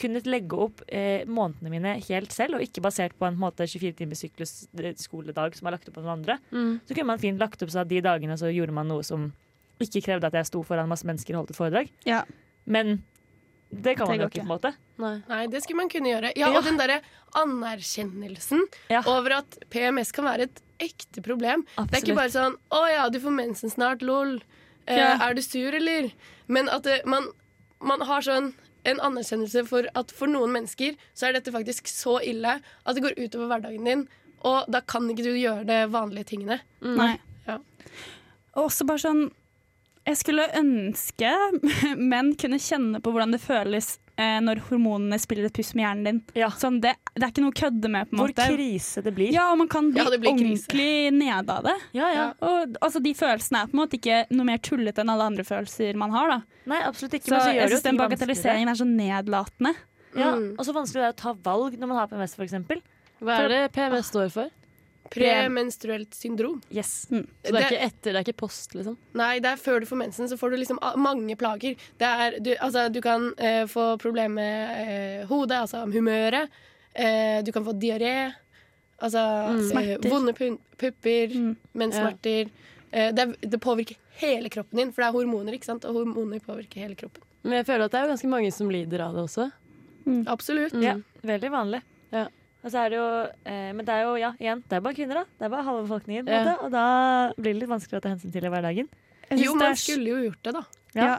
kunnet legge opp eh, månedene mine helt selv, og ikke basert på en, på en måte 24-timerssyklus eh, skoledag som er lagt opp av noen andre, så kunne man fint lagt opp så at de dagene så gjorde man noe som ikke krevde at jeg sto foran masse mennesker og holdt et foredrag.
Ja.
Men det kan
Det
man
går
jo ikke,
ikke.
på en måte.
Nei, det skulle man kunne gjøre. Ja,
Ja.
Og den derre anerkjennelsen
Ja.
over at PMS kan være et ekte problem. Det er ikke
Absolutt.
bare sånn 'Å ja, du får mensen snart, lol'. Eh,
Ja.
Er du sur, eller? Men at det, man, man har sånn en anerkjennelse for at for noen mennesker så er dette faktisk så ille at det går utover hverdagen din, og da kan ikke du gjøre de vanlige tingene.
Nei.
Mm. Ja.
Og også bare sånn Jeg skulle ønske menn kunne kjenne på hvordan det føles eh, når hormonene spiller et puss med hjernen din.
Ja.
Sånn, det, det er ikke noe å kødde med, på en
Hvor
måte.
krise det blir.
Ja, og man kan bli
Ja, det blir krise.
ordentlig nede av det.
ja. ja.
Og altså, de følelsene er på en måte ikke noe mer tullete enn alle andre følelser man har. Da.
Nei, absolutt ikke.
Så
men så gjør
jeg
det jo
syns den
ting vanskeligere.
bagatelliseringen er så nedlatende.
Ja,
Mm.
og så vanskelig det er å ta valg når man har PMS, for eksempel.
Hva er det PMS står for?
Premenstruelt syndrom.
Yes.
Mm.
Så det er ikke etter, det er ikke post, liksom.
Nei, det er før du får mensen, så får du liksom a- mange plager. Det er, du, altså, du kan eh, få problemer med eh, hodet, altså humøret. Eh, du kan få diaré. Altså eh,
Mm. Smerter. Mm.
vonde pun- pupper, menssmerter. Eh, det, er- det påvirker hele kroppen din, for det er hormoner, ikke sant? og hormoner påvirker hele kroppen.
Men jeg føler at det er jo ganske mange som lider av det også.
Absolutt.
Mm.
Ja, Mm. veldig vanlig.
Ja.
Og så er det jo, eh, men det er jo, ja, igjen, det er bare kvinner, da. Det er bare halve befolkningen. på en
Ja.
måte, Og da blir det litt vanskelig å ta hensyn til i hverdagen.
Jeg synes
Jo,
det er
man
s-
skulle jo gjort det, da.
Ja.
ja.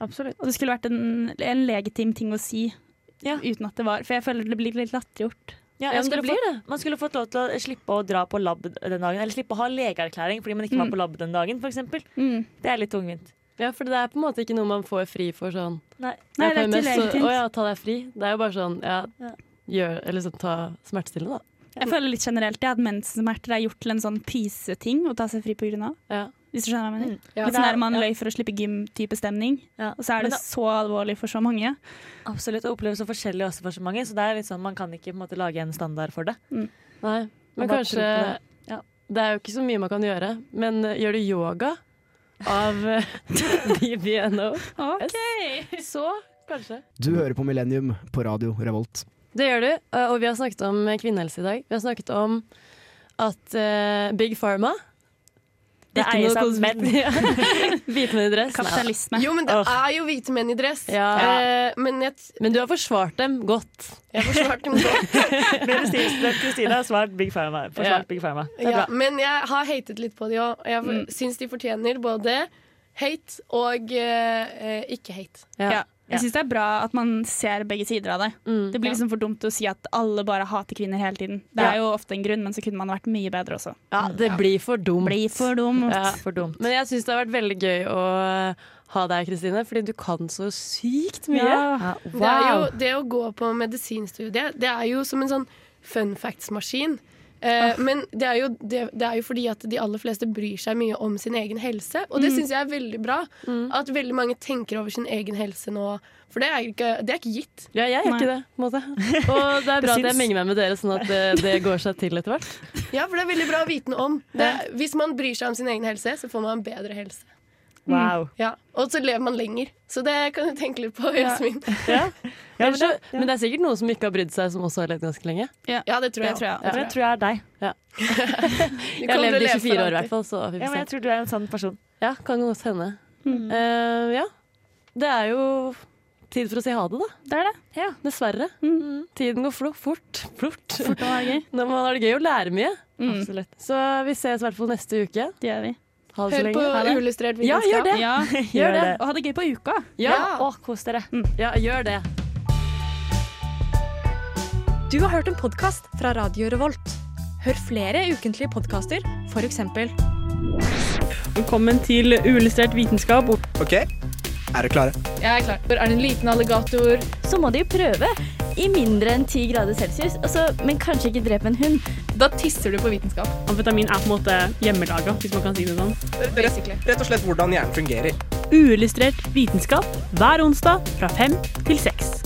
Absolutt.
Og det skulle vært en, en legitim ting å si.
Ja.
Uten at det var For jeg føler det blir litt latterliggjort.
Ja,
Ja,
jeg
men
skulle
det blir
fått- Man skulle fått lov til å slippe å dra på lab den dagen, eller slippe å ha legeerklæring fordi man ikke var på lab den dagen, for eksempel.
Mm.
Det er litt tungvint.
Ja, for det er på en måte ikke noe man får fri for sånn
Nei.
Jeg
Nei, det
har
er ikke
PMS, så-
legitimt.
Å ja, ta deg fri. Det er jo bare sånn, ja,
Ja.
gjør, eller sånn, ta smertestillende, da.
Jeg føler litt generelt det at mensensmerter er gjort til en sånn pyseting å ta seg fri pga.
Ja.
Hvis du skjønner hva jeg mener.
Ja.
Litt sånn
Det er-
der man
Mm. ja.
løy for å slippe gym-type stemning.
Ja.
Og så er
Men
det
da-
så alvorlig for så mange.
Absolutt. Og oppleves så forskjellig også for så mange, så det er litt sånn, man kan ikke på en måte lage en standard for det.
Nei,
Man
men
bare tror på
kanskje
det. Ja.
Det er jo ikke så mye man kan gjøre, men eh, gjør du yoga av eh, DBNO,
Ok!
så kanskje.
Du hører på Millennium på radio Revolt.
Det gjør du. eh, Og vi har snakket om kvinnehelse i dag. Vi har snakket om at eh, Big Pharma
Det
Ikke
eies
noe
av
kosmetikk.
menn.
Hvite menn i dress.
Kapitalisme.
Jo, men det
Åh.
er jo hvite menn i dress.
Ja.
Eh, men jeg, t-
Men du har forsvart dem godt.
jeg forsvarte dem godt.
Kristine har svart Big Pharma.
Ja.
Forsvart Big Pharma. Det er
Ja,
bra.
men jeg har hatet litt på de òg. Og jeg
Mm.
syns de fortjener både hate og eh, eh, ikke hate.
Ja.
Ja.
Jeg syns det er bra at man ser begge sider av det.
Mm.
Det blir liksom for dumt å si at alle bare hater kvinner hele tiden. Det er jo ofte en grunn, men så kunne man vært mye bedre også.
Ja, det blir for dumt.
Bli for dumt.
Mm. Ja.
For dumt.
Men jeg syns det har vært veldig gøy å eh, ha deg, Kristine, fordi du kan så sykt mye.
Ja.
Det, er jo, det å gå på medisinstudiet, det er jo som en sånn fun facts-maskin. Eh,
Ah.
Men det er, jo, det, det er jo fordi at de aller fleste bryr seg mye om sin egen helse. Og
Mm.
det syns jeg er veldig bra. At veldig mange tenker over sin egen helse nå. For det er ikke, det er ikke gitt.
Ja, jeg gjør
Nei.
ikke det. på en måte. Og det er bra at jeg
syns.
menger meg med dere, sånn at det, det går seg til etter hvert.
Ja, for det er veldig bra å vite noe om. Det, hvis man bryr seg om sin egen helse, så får man bedre helse.
Mm.
Wow.
Ja. Og så lever man lenger. Så det kan du tenke litt på, Jasmin.
Ja,
men, det, men det er sikkert noen som ikke har brydd seg, som også har levd ganske lenge.
Ja, det tror
Det
jeg.
tror jeg.
Det
Det tror jeg er deg.
Du
Jeg
kommer til å
levde i
leve for
24 år i
alltid.
hvert fall, så vi
Ja,
får
men jeg
se. Mm.
tror du er en sånn person.
Ja, kan godt hende.
Mm.
Eh, ja. Det er jo tid for å si ha det, da.
Det er det. Mm.
Ja, Dessverre. Tiden går flo fort. Flort.
Fort og være gøy.
Når man har det gøy å lære mye.
Mm.
Absolutt.
Så vi ses i hvert fall neste uke.
Det gjør vi.
Ha det så
Hør
lenge.
på
Ha det.
Uillustrert
Ja,
vitenskap.
gjør det.
Ja.
Gjør det.
Og ha det gøy på uka.
Ja, Mm.
Å, kos dere.
ja, gjør det.
Du har hørt en podkast fra Radio Revolt. Hør flere ukentlige podkaster, f.eks.
Velkommen til Uillustrert vitenskap.
Ok, er dere klare?
Jeg er klar. Er det en liten alligator?
så må de jo prøve i mindre enn 10 grader celsius. Altså, men kanskje ikke drepe en hund.
Da tisser du på vitenskap.
Amfetamin er på en måte hjemmelaga, hvis man kan si det sånn.
Basically.
Rett og slett hvordan hjernen fungerer.
Uillustrert vitenskap hver onsdag fra fem til seks.